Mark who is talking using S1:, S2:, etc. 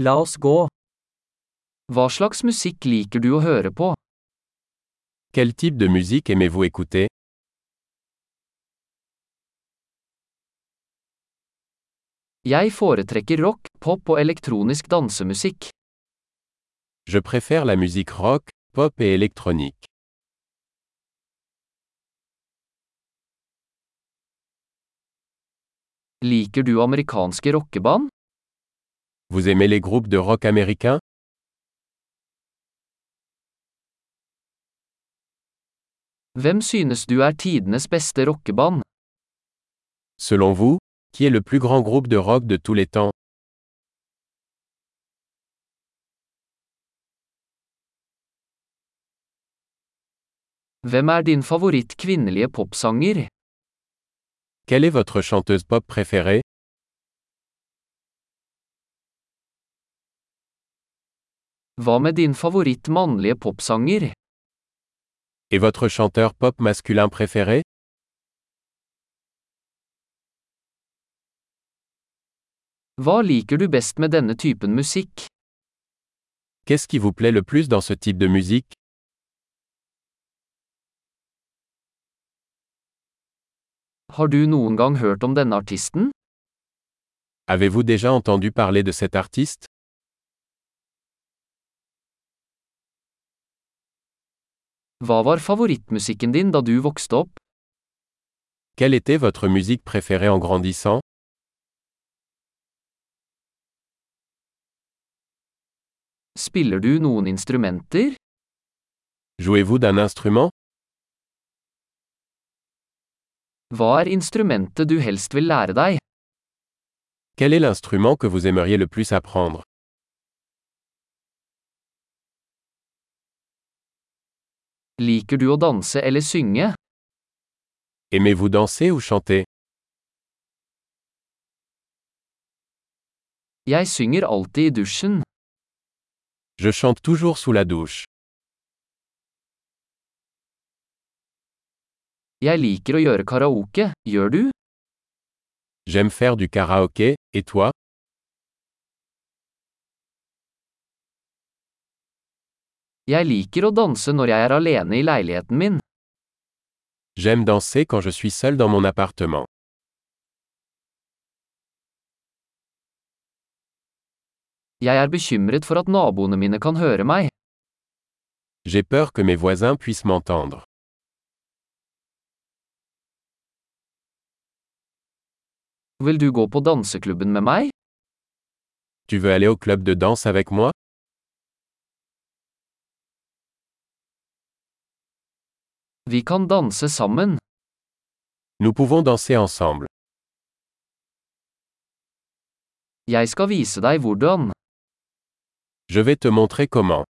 S1: La oss gå. Hva slags musikk liker du å høre på?
S2: Quel type de musique aimez-vous écouter
S1: Jeg foretrekker rock, pop og elektronisk dansemusikk.
S2: Je préfère la musique rock, pop et électronique.
S1: Liker du amerikanske rockeband?
S2: Vous aimez les groupes de rock américains
S1: Hvem synes du er tidenes beste rockeband?
S2: Selon vous, qui est le plus grand groupe de rock de tous les temps
S1: Hvem er din favoritt kvinnelige popsanger?
S2: Quelle est votre chanteuse pop préférée
S1: Hva med din favoritt mannlige popsanger?
S2: Et votre chanteur pop masculin préféré
S1: Hva liker du best med denne typen musikk?
S2: Qu'est-ce qui vous plaît le plus dans ce type de musique
S1: Har du noen gang hørt om denne artisten?
S2: Avez-vous déjà entendu parler de cet artiste
S1: Hva var favorittmusikken din da du vokste opp?
S2: Quelle était votre musique préférée en grandissant
S1: Spiller du noen instrumenter?
S2: Jouez-vous d'un instrument
S1: Hva er instrumentet du helst vil lære deg?
S2: Quel est l'instrument que vous aimeriez le plus apprendre
S1: Liker du å danse eller synge?
S2: Aimez-vous danser ou chanter
S1: Jeg synger alltid i dusjen.
S2: Je chante toujours sous la douche.
S1: Jeg liker å gjøre karaoke, gjør du?
S2: J'aime faire du karaoké, et toi
S1: Jeg liker å danse når jeg er alene i leiligheten min.
S2: J'aime danser quand je suis seul dans mon appartement.
S1: Jeg er bekymret for at naboene mine kan høre meg.
S2: J'ai peur que mes voisins puissent m'entendre.
S1: Vil du gå på danseklubben med meg?
S2: Tu veux aller au club de danse avec moi
S1: Vi kan danse sammen.
S2: Nous pouvons danser ensemble.
S1: Jeg skal vise deg hvordan.
S2: Je vais te montrer comment.